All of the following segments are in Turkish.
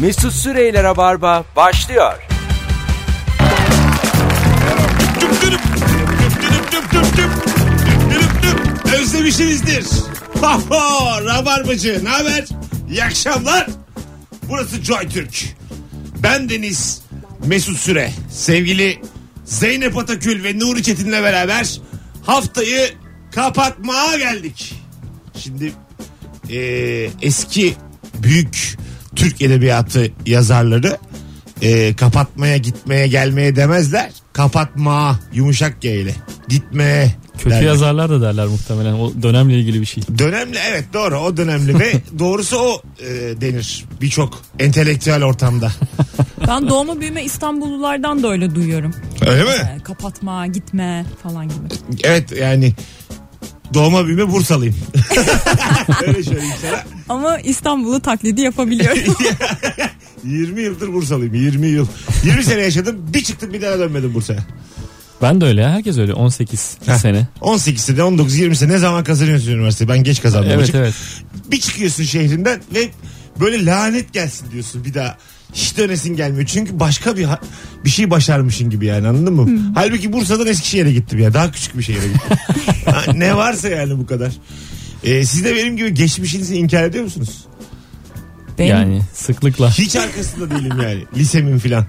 Mesut Süreyle Rabarba başlıyor. Özlemişsinizdir. Hoho, Rabarbacı ne haber? İyi akşamlar. Burası Joy Türk. Ben Deniz Mesut Süre. Sevgili Zeynep Atakül ve Nuri Çetin'le beraber haftayı kapatmaya geldik. Şimdi eee, eski büyük Türk edebiyatı yazarları eee, kapatmaya gitmeye gelmeye demezler. Kapatma yumuşak G ile. Gitmeye Kötü derler. yazarlar da derler muhtemelen. O dönemle ilgili bir şey. Dönemli evet doğru o dönemli ve doğrusu o e, denir birçok entelektüel ortamda. Ben doğma büyüme İstanbullulardan da öyle duyuyorum. Öyle mi? Ee, kapatma, gitme falan gibi. Evet yani doğma büyüme Bursalıyım. Öyle söyleyeyim sana. Ama İstanbul'u taklidi yapabiliyorum. 20 yıldır Bursalıyım 20 yıl. 20 sene yaşadım bir çıktım bir daha dönmedim Bursa'ya. Ben de öyle ya. Herkes öyle. 18 sene. 18'de 19-20'si ne zaman kazanıyorsun üniversiteyi ben geç kazandım. Evet hocam. evet. Bir çıkıyorsun şehrinden ve böyle lanet gelsin diyorsun bir daha. Hiç dönesin gelmiyor. Çünkü başka bir ha- bir şey başarmışın gibi yani anladın mı? Halbuki Bursa'dan Eskişehir'e gittim ya. Daha küçük bir şehre gittim. Ha, ne varsa yani bu kadar. Ee, siz de benim gibi geçmişinizi inkar ediyor musunuz? Benim Yani sıklıkla. Hiç arkasında değilim yani. Lisemin filan.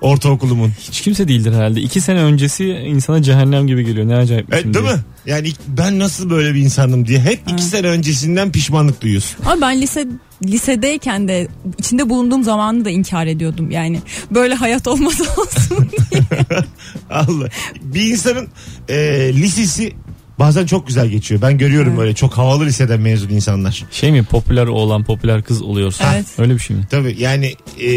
Ortaokulumun. Hiç kimse değildir herhalde. 2 sene öncesi insana cehennem gibi geliyor. Ne acayip. bir E, şey değil diye. mi? Yani ilk- ben nasıl böyle bir insandım diye. Hep iki sene öncesinden pişmanlık duyuyorsun. Ama ben lise lisedeyken de içinde bulunduğum zamanı da inkar ediyordum yani. Böyle hayat olmasa olsun. Allah. Bir insanın e, lisesi bazen çok güzel geçiyor. Ben görüyorum böyle çok havalı liseden mezun insanlar. Şey mi popüler oğlan popüler kız oluyorsun. Evet. Öyle bir şey mi? Tabii yani e,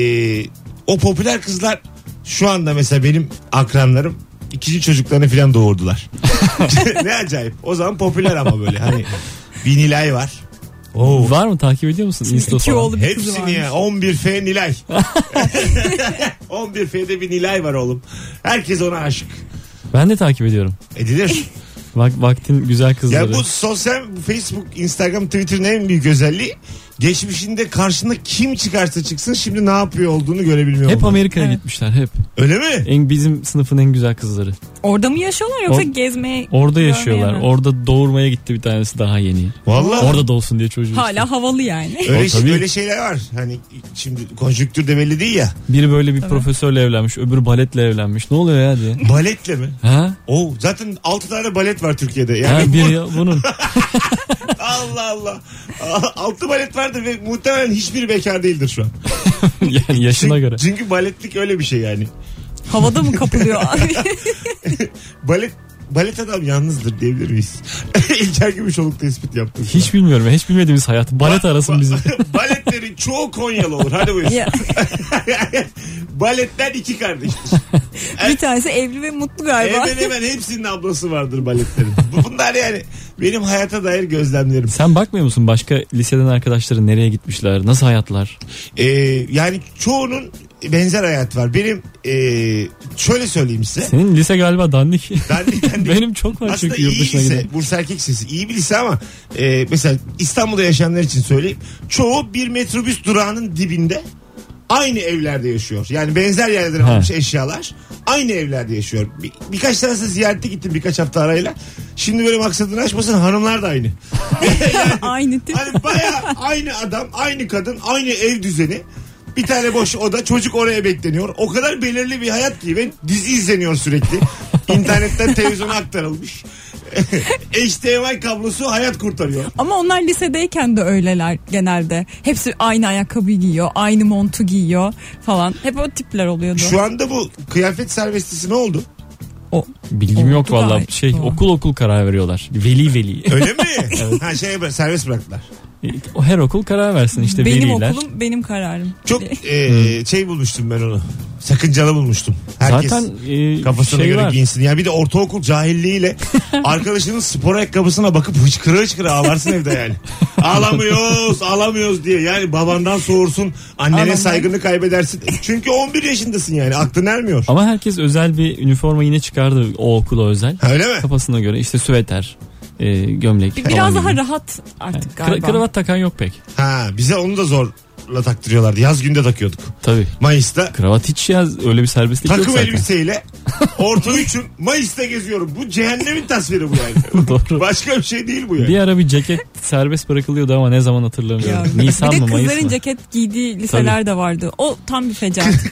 o popüler kızlar şu anda mesela benim akranlarım ikinci çocuklarını falan doğurdular. ne acayip. O zaman popüler ama böyle hani bir Nilay var. Oo. Var mı takip ediyor musun? Insta İki falan. oğlu bir kızı Hepsini varmış. ya 11F Nilay. 11F'de bir Nilay var oğlum. Herkes ona aşık. Ben de takip ediyorum. Edilir. Vak, vaktin güzel kızları. Ya bu sosyal bu Facebook, Instagram, Twitter'ın en büyük özelliği geçmişinde karşına kim çıkarsa çıksın şimdi ne yapıyor olduğunu görebilmiyor. Hep olmak. Amerika'ya Evet. gitmişler hep. Öyle mi? En bizim sınıfın en güzel kızları. Orada mı yaşıyorlar yoksa Or- gezmeye Orada görmeye yaşıyorlar. mi? Orada doğurmaya gitti bir tanesi daha yeni. Vallahi. Orada doğsun diye çocuğu. işte. Hala havalı yani. Öyle, şey- O tabii. öyle şeyler var. Hani şimdi konjüktür de belli değil ya. Biri böyle bir profesörle evlenmiş, öbürü baletle evlenmiş. Ne oluyor ya diye. Baletle mi? Ha? Oo, zaten 6 tane balet var Türkiye'de. Ha Yani bir ya- bunun. Allah Allah. 6 balet vardır ve muhtemelen hiçbir bekar değildir şu an. yani yaşına Çünkü, göre. çünkü baletlik öyle bir şey yani. Havada mı kapılıyor abi? Balet balet adam yalnızdır diyebilir miyiz? İlker Gümüşoluk tespit yaptı. Hiç bilmiyorum. ya, Hiç bilmediğimiz hayat. Balet arasın bizim. Baletlerin çoğu Konyalı olur. Hadi buyur. Ya, Baletten iki kardeştir. bir tanesi evli ve mutlu galiba. Hemen hemen hepsinin ablası vardır baletlerin. Bu- Bunlar yani benim hayata dair gözlemlerim. Sen bakmıyor musun başka liseden arkadaşların nereye gitmişler? Nasıl hayatlar? Ee, yani çoğunun benzer hayat var. Benim ee, şöyle söyleyeyim size. Senin lise galiba dandik. Ben ben- Benim çok var Aslında çünkü iyi yurt dışına lise, giden. Bursa Erkek Lisesi iyi bir lise ama e, mesela İstanbul'da yaşayanlar için söyleyeyim. Çoğu bir metrobüs durağının dibinde aynı evlerde yaşıyor. Yani benzer yerlerden Ha. almış eşyalar aynı evlerde yaşıyor. Bir, birkaç tanesi ziyarete gittim birkaç hafta arayla. Şimdi böyle maksadını açmasın hanımlar da aynı. Aynı tip. Hani baya aynı adam, aynı kadın, aynı ev düzeni. Bir tane boş oda çocuk oraya bekleniyor. O kadar belirli bir hayat ki ve dizi izleniyor sürekli. İnternetten televizyona aktarılmış. HDMI kablosu hayat kurtarıyor. Ama onlar lisedeyken de öyleler genelde. Hepsi aynı ayakkabı giyiyor, aynı montu giyiyor falan. Hep o tipler oluyordu. Şu anda bu kıyafet serbestisi ne oldu? O bilgim Oldu yok valla. gayet. Şey Doğru. okul okul karar veriyorlar. Veli veli. Öyle mi? ha şey bıra- serbest bıraktılar. Her okul karar versin işte benim veliler. okulum benim kararım. Çok e, şey bulmuştum ben onu. Sakıncalı bulmuştum. Herkes Zaten e, kafasına şey göre var. giyinsin. Ya bir de ortaokul cahilliğiyle arkadaşının spor ayakkabısına bakıp hıçkıra hıçkıra ağlarsın evde yani. Ağlamıyoruz, ağlamıyoruz diye. Yani babandan soğursun, annene Ağlamam. saygını kaybedersin. E, Çünkü 11 yaşındasın yani aklın ermiyor. Ama herkes özel bir üniforma yine çıkardı o okula özel. Öyle mi? Kafasına göre işte süveter, e, gömlek. Biraz falan daha gibi. rahat artık Kra- galiba. kravat takan yok pek. Ha bize onu da zor kravatla taktırıyorlardı. Yaz günde takıyorduk. Tabii. Mayıs'ta. Kravat hiç ya öyle bir serbestlik yok Takım zaten. elbiseyle orta üçün Mayıs'ta geziyorum. Bu cehennemin tasviri bu yani. Doğru. Başka bir şey değil bu yani. Bir ara bir ceket serbest bırakılıyordu ama ne zaman hatırlamıyorum. Ya. Nisan bir de mı Mayıs kızların mı? ceket giydiği liseler de vardı. O tam bir fecaat.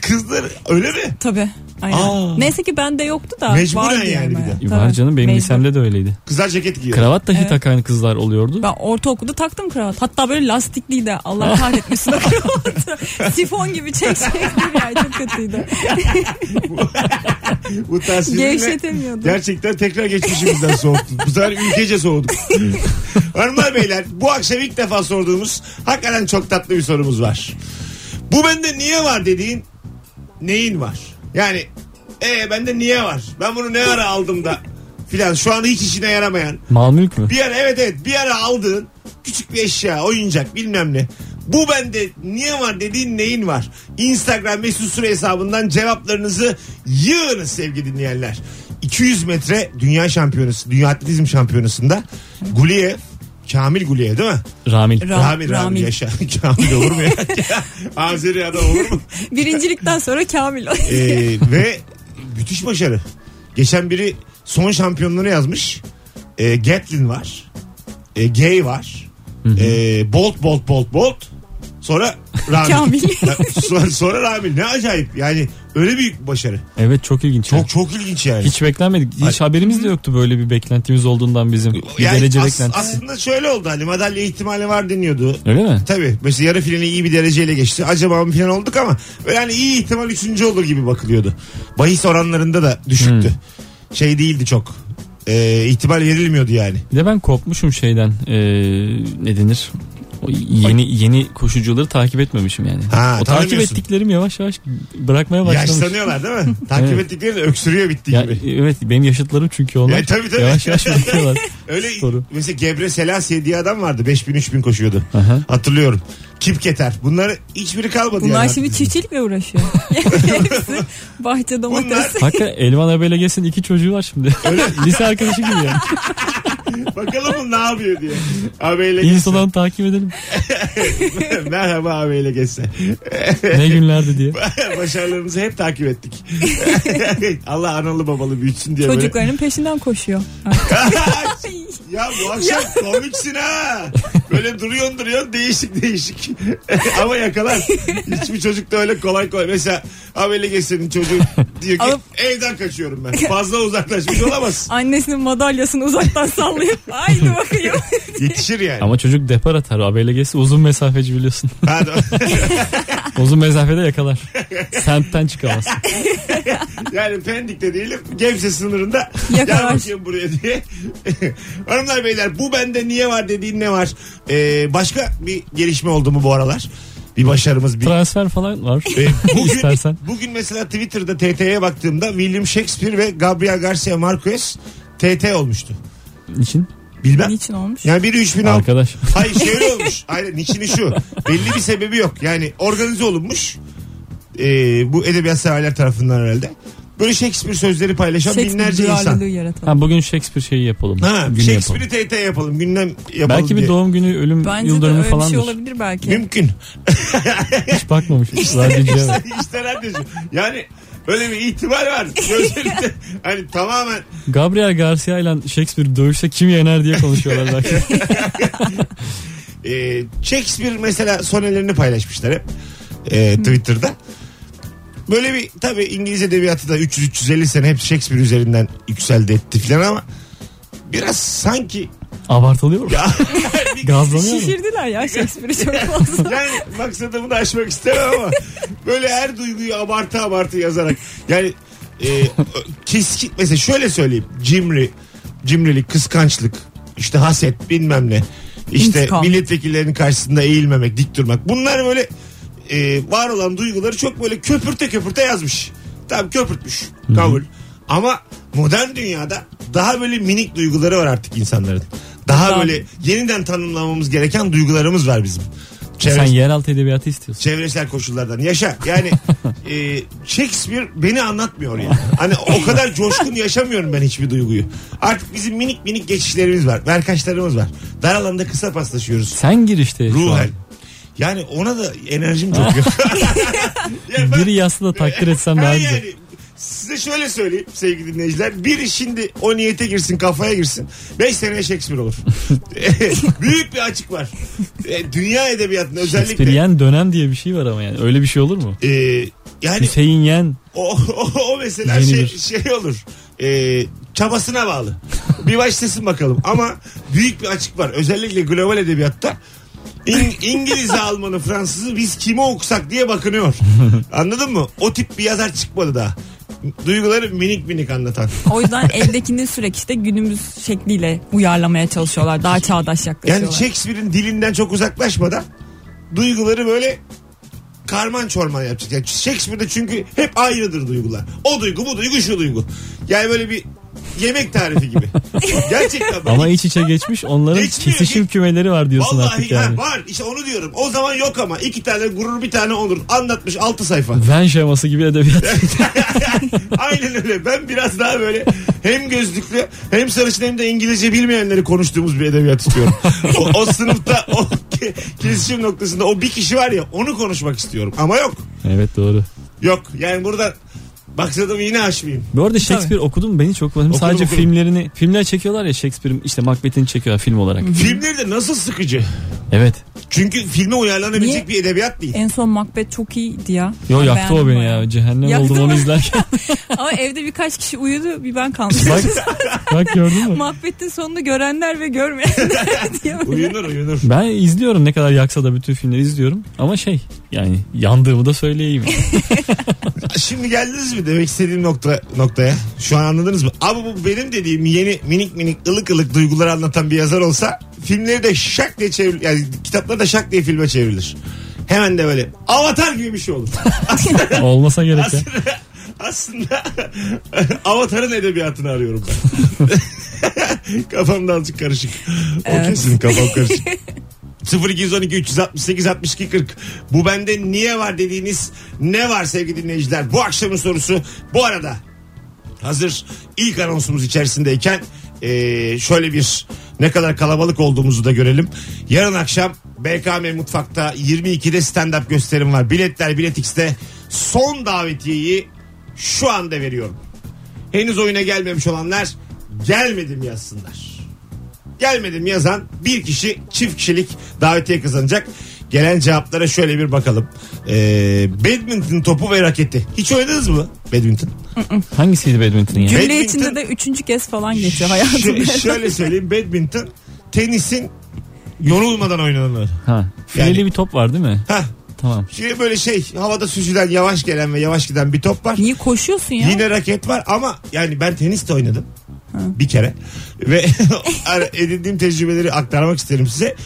Kızlar öyle mi? Tabii. Aynen. Aa. Neyse ki bende yoktu da. Mecburen vardı yani bir de. E, Var Tabii, canım benim mecbur. lisemde de öyleydi. Kızlar ceket giyiyor. Kravat dahi Evet. takan kızlar oluyordu. Ben ortaokulda taktım kravat. Hatta böyle lastikliydi. Allah kahretmesin o kravatı. Sifon gibi çek çek yani çok kötüydü. bu tasvirle Gevşetemiyordum. gerçekten tekrar geçmişimizden soğuttun. Bu sefer ülkece soğuduk. Hanımlar beyler bu akşam ilk defa sorduğumuz hakikaten çok tatlı bir sorumuz var. Bu bende niye var dediğin neyin var? Yani e bende niye var? Ben bunu ne ara aldım da filan şu anda hiç işine yaramayan Mal mülk mü? Bir ara evet evet bir ara aldığın küçük bir eşya, oyuncak bilmem ne. Bu bende niye var dediğin neyin var? Instagram mesut süre hesabından cevaplarınızı yığınız sevgili dinleyenler. 200 metre dünya şampiyonası, dünya atletizm şampiyonasında Guliyev, Kamil Guliyev değil mi? Ramil. Ra- Rami, Rami, Rami. yaşa. Kamil olur mu ya? Azeri adam olur mu? Birincilikten sonra Kamil. Ee, ve müthiş başarı. Geçen biri son şampiyonları yazmış. Ee, Gatlin var. Ee, Gay var. Ee, Bolt Bolt Bolt Bolt. Sonra Ramil. Kamil. sonra, sonra Ramil. Ne acayip. Yani öyle büyük bir başarı. Evet çok ilginç. Çok çok ilginç yani. Hiç beklenmedik. Hiç haberimiz de yoktu böyle bir beklentimiz olduğundan bizim. Bir Yani derece as- beklentisi. aslında şöyle oldu hani madalya ihtimali var deniyordu. Öyle mi? Tabii mesela yarı finali iyi bir dereceyle geçti. Acaba mı final olduk ama yani iyi ihtimal üçüncü olur gibi bakılıyordu. Bahis oranlarında da düşüktü. Hmm. Şey değildi çok. Ee, ihtimal verilmiyordu yani. Bir de ben kopmuşum şeyden. Ee, ne denir? O yeni yeni koşucuları takip etmemişim yani. Ha, o takip tanımıyorsun. ettiklerim yavaş yavaş bırakmaya başlamış. Yaşlanıyorlar değil mi? Takip Evet. ettikleri de öksürüyor bitti Ya, gibi. evet benim yaşıtlarım çünkü onlar. Ya, tabii, tabii. Yavaş yavaş bırakıyorlar. Öyle Doğru. mesela Gebre Selassie diye adam vardı. 5000-3000 koşuyordu. Aha. Hatırlıyorum. Kip Keter. Bunları hiçbiri kalmadı Bunlar yani. şimdi çiftçilikle uğraşıyor. Hepsi Bunlar- bahçe domates. Hakikaten Elvan Abeleges'in iki çocuğu var şimdi. Lise arkadaşı gibi yani. Bakalım bu ne yapıyor diye. Abeyle geçse. İnstadan takip edelim. Merhaba abeyle geçse. Ne günlerdi diye. Başarılarımızı hep takip ettik. Allah analı babalı büyütsün diye böyle. Çocukların peşinden koşuyor. Ya bu akşam komiksin ha. Böyle duruyorsun duruyorsun değişik değişik. Ama yakalar. Hiçbir çocuk da öyle kolay kolay. Mesela Ameli Gesen'in çocuğu diyor ki Alıp- evden kaçıyorum ben. Fazla uzaklaşmış olamaz. Annesinin madalyasını uzaktan sallayıp aynı bakıyor. Yetişir yani. Ama çocuk depar atar. Abeleges uzun mesafeci biliyorsun. Ha, doğru. Uzun mesafede yakalar. Semtten çıkamaz. yani Pendik'te değilim. Gebze sınırında Yakalar. gel bakayım buraya diye. Hanımlar beyler bu bende niye var dediğin ne var? Ee, başka bir gelişme oldu mu bu aralar? Bir başarımız bir Transfer falan var. E, bugün, İstersen. bugün mesela Twitter'da TT'ye baktığımda William Shakespeare ve Gabriel Garcia Marquez TT olmuştu. E, için Bilmem. Niçin olmuş? Yani biri 3000 al- arkadaş. Hayır şöyle olmuş. Aynen niçini şu. Belli bir sebebi yok. Yani organize olunmuş. E, bu edebiyat severler tarafından herhalde. Böyle Shakespeare sözleri paylaşan binlerce insan. duyarlılığı yaratalım. Ha bugün Shakespeare şeyi yapalım. Ha, Günü yapalım. Shakespeare'i TT yapalım. Gündem yapalım Belki bir diye. doğum günü, ölüm Bence yıl de dönümü öyle bir şey falandır. olabilir belki. Mümkün. Hiç bakmamışız. Radyocuya bak. işte radyocu. Yani öyle bir ihtimal var. Gözlerinde hani tamamen Gabriel Garcia ile Shakespeare dövüşse kim yener diye konuşuyorlar belki. Ee, Shakespeare mesela sonelerini paylaşmışlar hep ee, Twitter'da. Böyle bir tabii İngiliz edebiyatı da 300-350 sene hep Shakespeare üzerinden yükseldi etti filan ama biraz sanki Abartılıyor mu? ya, Gazlanıyor mu? Şişirdiler ya Shakespeare'i çok fazla. yani maksadımı da aşmak istemem ama böyle her duyguyu abartı abartı yazarak yani e, keskin mesela şöyle söyleyeyim cimri cimrilik kıskançlık işte haset bilmem ne işte İntikam. milletvekillerinin karşısında eğilmemek dik durmak bunlar böyle e, var olan duyguları çok böyle köpürte köpürte yazmış tam köpürtmüş kabul ama modern dünyada daha böyle minik duyguları var artık insanların daha Daha- böyle yeniden tanımlamamız gereken duygularımız var bizim. Sen Çevre, yeraltı edebiyatı istiyorsun. çevresel koşullardan. Yaşa. Yani e, Shakespeare beni anlatmıyor yani. Hani o kadar coşkun yaşamıyorum ben hiçbir duyguyu. Artık bizim minik minik geçişlerimiz var. Verkaçlarımız var. Dar alanda kısa paslaşıyoruz. Sen gir işte. şu an. Ruhen. Yani ona da enerjim çok yok. Ya ben- Biri yazsa da takdir etsem daha Ha güzel. yani size şöyle söyleyeyim sevgili dinleyiciler. Biri şimdi o niyete girsin kafaya girsin. 5 seneye Shakespeare olur. Büyük bir açık var. E, Dünya edebiyatında özellikle. Shakespearean dönem diye bir şey var ama yani. Öyle bir şey olur mu? E, yani Hüseyin Yen. o, o, o mesela Yeni şey, bir- şey olur. E, çabasına bağlı. Bir başlasın bakalım. Ama büyük bir açık var. Özellikle global edebiyatta. İng- İngiliz'i, Alman'ı, Fransız'ı biz kime okusak diye bakınıyor. Anladın mı? O tip bir yazar çıkmadı daha. Duyguları minik minik anlatan. O yüzden eldekini sürekli işte günümüz şekliyle uyarlamaya çalışıyorlar. Daha çağdaş yaklaşıyorlar. Yani Shakespeare'in dilinden çok uzaklaşmadan duyguları böyle karman çorman yapacak. Yani Shakespeare'de çünkü hep aynıdır duygular. O duygu bu duygu şu duygu. Yani böyle bir yemek tarifi gibi. Gerçekten. böyle. Ama iç içe geçmiş. Onların Geçmiyor, kesişim geç- kümeleri var diyorsun Vallahi artık yani. ha, var işte onu diyorum. O zaman yok ama iki tane gurur bir tane onur. Anlatmış altı sayfa. Ven şeması gibi edebiyat. Aynen öyle. Ben biraz daha böyle hem gözlüklü hem sarışın hem de İngilizce bilmeyenleri konuştuğumuz bir edebiyat istiyorum. o, o sınıfta o ke- kesişim noktasında o bir kişi var ya onu konuşmak istiyorum. Ama yok. evet doğru. Yok. Yani burada maksadımı yine aşmayayım. Bu arada Shakespeare okudun mu? Beni çok benim Okudum, sadece okudum. filmlerini filmler çekiyorlar ya Shakespeare'in işte Macbeth'ini çekiyorlar film olarak. Filmleri de nasıl sıkıcı. evet. Çünkü filme uyarlanabilecek Niye? E, bir edebiyat değil. En son Macbeth çok iyiydi ya. Yo Ben yaktı o beğendim beni bayağı. ya. Cehennem Yaktı oldum onu mı? izlerken. Ama evde birkaç kişi uyudu bir ben kalmışım. bak, bak gördün mü? Macbeth'in sonunu görenler ve görmeyenler diye böyle. Uyunur uyunur. Ben izliyorum ne kadar yaksa da bütün filmleri izliyorum. Ama şey yani yandığımı da söyleyeyim. Şimdi geldiniz mi demek istediğim nokta, noktaya? Şu an anladınız mı? Abi bu benim dediğim yeni minik minik ılık ılık duyguları anlatan bir yazar olsa filmleri de şak diye çevrilir. Yani kitapları da şak diye filme çevrilir. Hemen de böyle avatar gibi bir şey olur. Olmasa gerek ya. aslında aslında avatarın edebiyatını arıyorum ben. Kafamda azıcık karışık. O kesin kafam karışık. 0212 368 62 40 bu bende niye var dediğiniz ne var sevgili dinleyiciler bu akşamın sorusu bu arada hazır ilk anonsumuz içerisindeyken eee, şöyle bir ne kadar kalabalık olduğumuzu da görelim. Yarın akşam BKM Mutfak'ta 22'de stand-up gösterim var. Biletler Bilet X'te son davetiyeyi şu anda veriyorum. Henüz oyuna gelmemiş olanlar gelmedim yazsınlar. Gelmedim yazan bir kişi çift kişilik davetiye kazanacak. Gelen cevaplara şöyle bir bakalım. Eee badminton topu ve raketi. Hiç oynadınız mı badminton? Hangisiydi badminton ya? Cümle Badminton- içinde de üçüncü kez falan geçiyor hayatımda. Şö- şöyle söyleyeyim badminton tenisin yorulmadan oynananı. Ha. Fileli Yani- bir top var değil mi? Hah. Tamam. Şimdi böyle şey havada süzülen yavaş gelen ve yavaş giden bir top var. Niye koşuyorsun ya? Yine raket var ama yani ben tenis de oynadım. Bir kere. Ve ara- edindiğim tecrübeleri aktarmak isterim size.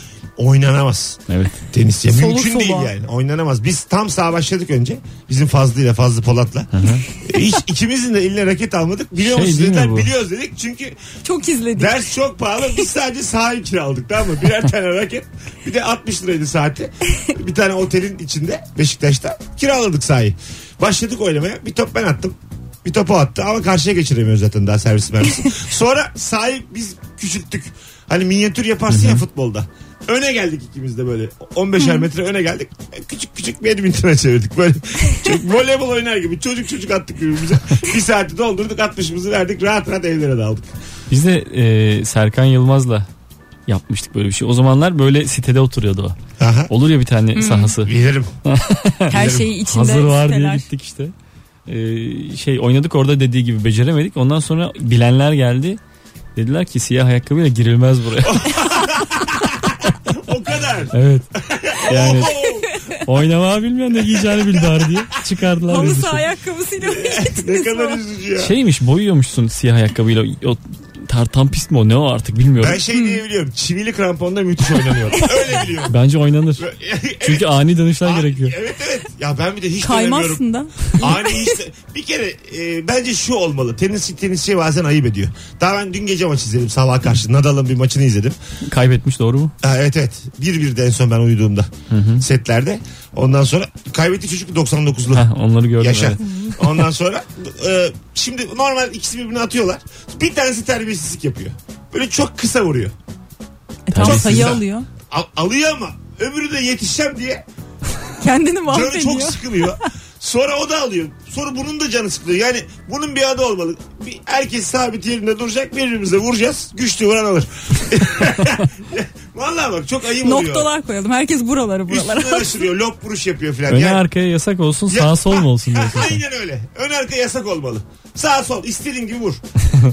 Oynanamaz Evet. tenis. ya. Soluk Mümkün soluğa. değil yani. Oynanamaz. Biz tam sağa başladık önce. Bizim Fazlı'yla Fazlı Polat'la. Hiç ikimizin de eline raket almadık. Biliyor Şey musunuz değil mi dediler. bu? Biliyoruz dedik. Çünkü Çok izledik. Ders çok pahalı. Biz sadece sahayı kiraladık tamam mı? Birer tane raket. Bir de 60 liraydı saati. Bir tane otelin içinde Beşiktaş'ta kiraladık sahayı. Başladık oynamaya. Bir top ben attım. Bir topu attı ama karşıya geçiremiyoruz zaten daha servis mermisi. Sonra sahayı biz küçülttük. Hani minyatür yaparsın ya futbolda. Öne geldik ikimiz de böyle. 15'er metre öne geldik. Küçük küçük badminton'a çevirdik. Böyle çok voleybol oynar gibi çocuk çocuk attık birbirimize. Bir saati doldurduk 60'ımızı verdik. Rahat rahat evlere dağıldık. Biz de e, Serkan Yılmaz'la yapmıştık böyle bir şey. O zamanlar böyle sitede oturuyordu o. Aha. Olur ya bir tane sahası. Bilirim. Her şeyi içinde Hazır var diye siteler. gittik işte. Ee, şey oynadık orada dediği gibi beceremedik. Ondan sonra bilenler geldi. Dediler ki siyah ayakkabıyla girilmez buraya. O kadar. evet. Yani Oo. oynama bilmeyen ne giyeceğini bil bari diye çıkardılar Halı bizi. saha ayakkabısıyla ne kadar üzücü ya. Şeymiş boyuyormuşsun siyah ayakkabıyla. O tartan pist mi o ne o artık bilmiyorum. ben şey diye biliyorum. Çivili kramponda müthiş oynanıyor. Öyle biliyorum. Bence oynanır. Evet, Çünkü ani dönüşler abi, gerekiyor. Evet evet. Ya ben bir de hiç Kaymazsın. Kaymazsın da. Ani işte. Bir kere e, bence şu olmalı. Tenis tenisçi bazen ayıp ediyor. Daha ben dün gece maç izledim sabah karşı. Nadal'ın bir maçını izledim. Kaybetmiş doğru mu? Ha, evet evet. Bir bir de en son ben uyuduğumda. Setlerde. Ondan sonra kaybetti çocuk 99'lu. Heh, onları gördüm. Yaşa. evet. Ondan sonra e, şimdi normal ikisi birbirine atıyorlar. Bir tanesi terbiyesizlik yapıyor. Böyle çok kısa vuruyor. E, tam Çok sayı güzel. alıyor. Al- alıyor ama Öbürü de yetişeceğim diye Kendini canı çok mahvediyor. sıkılıyor. Sonra o da alıyor. Sonra bunun da canı sıkılıyor. Yani bunun bir adı olmalı. Bir, herkes sabit yerinde duracak. Birbirimize vuracağız. Güçlü vuran alır. Vallahi bak çok ayıp oluyor. Noktalar koyalım. Herkes buraları buralara. Üstüne aşırıyor. Lop vuruş yapıyor filan. Öne Yani- arkaya yasak olsun Ya- sağ sol mu olsun Ha, diyorsun sen. Aynen öyle. Ön arka yasak olmalı. Sağ sol istediğin gibi vur.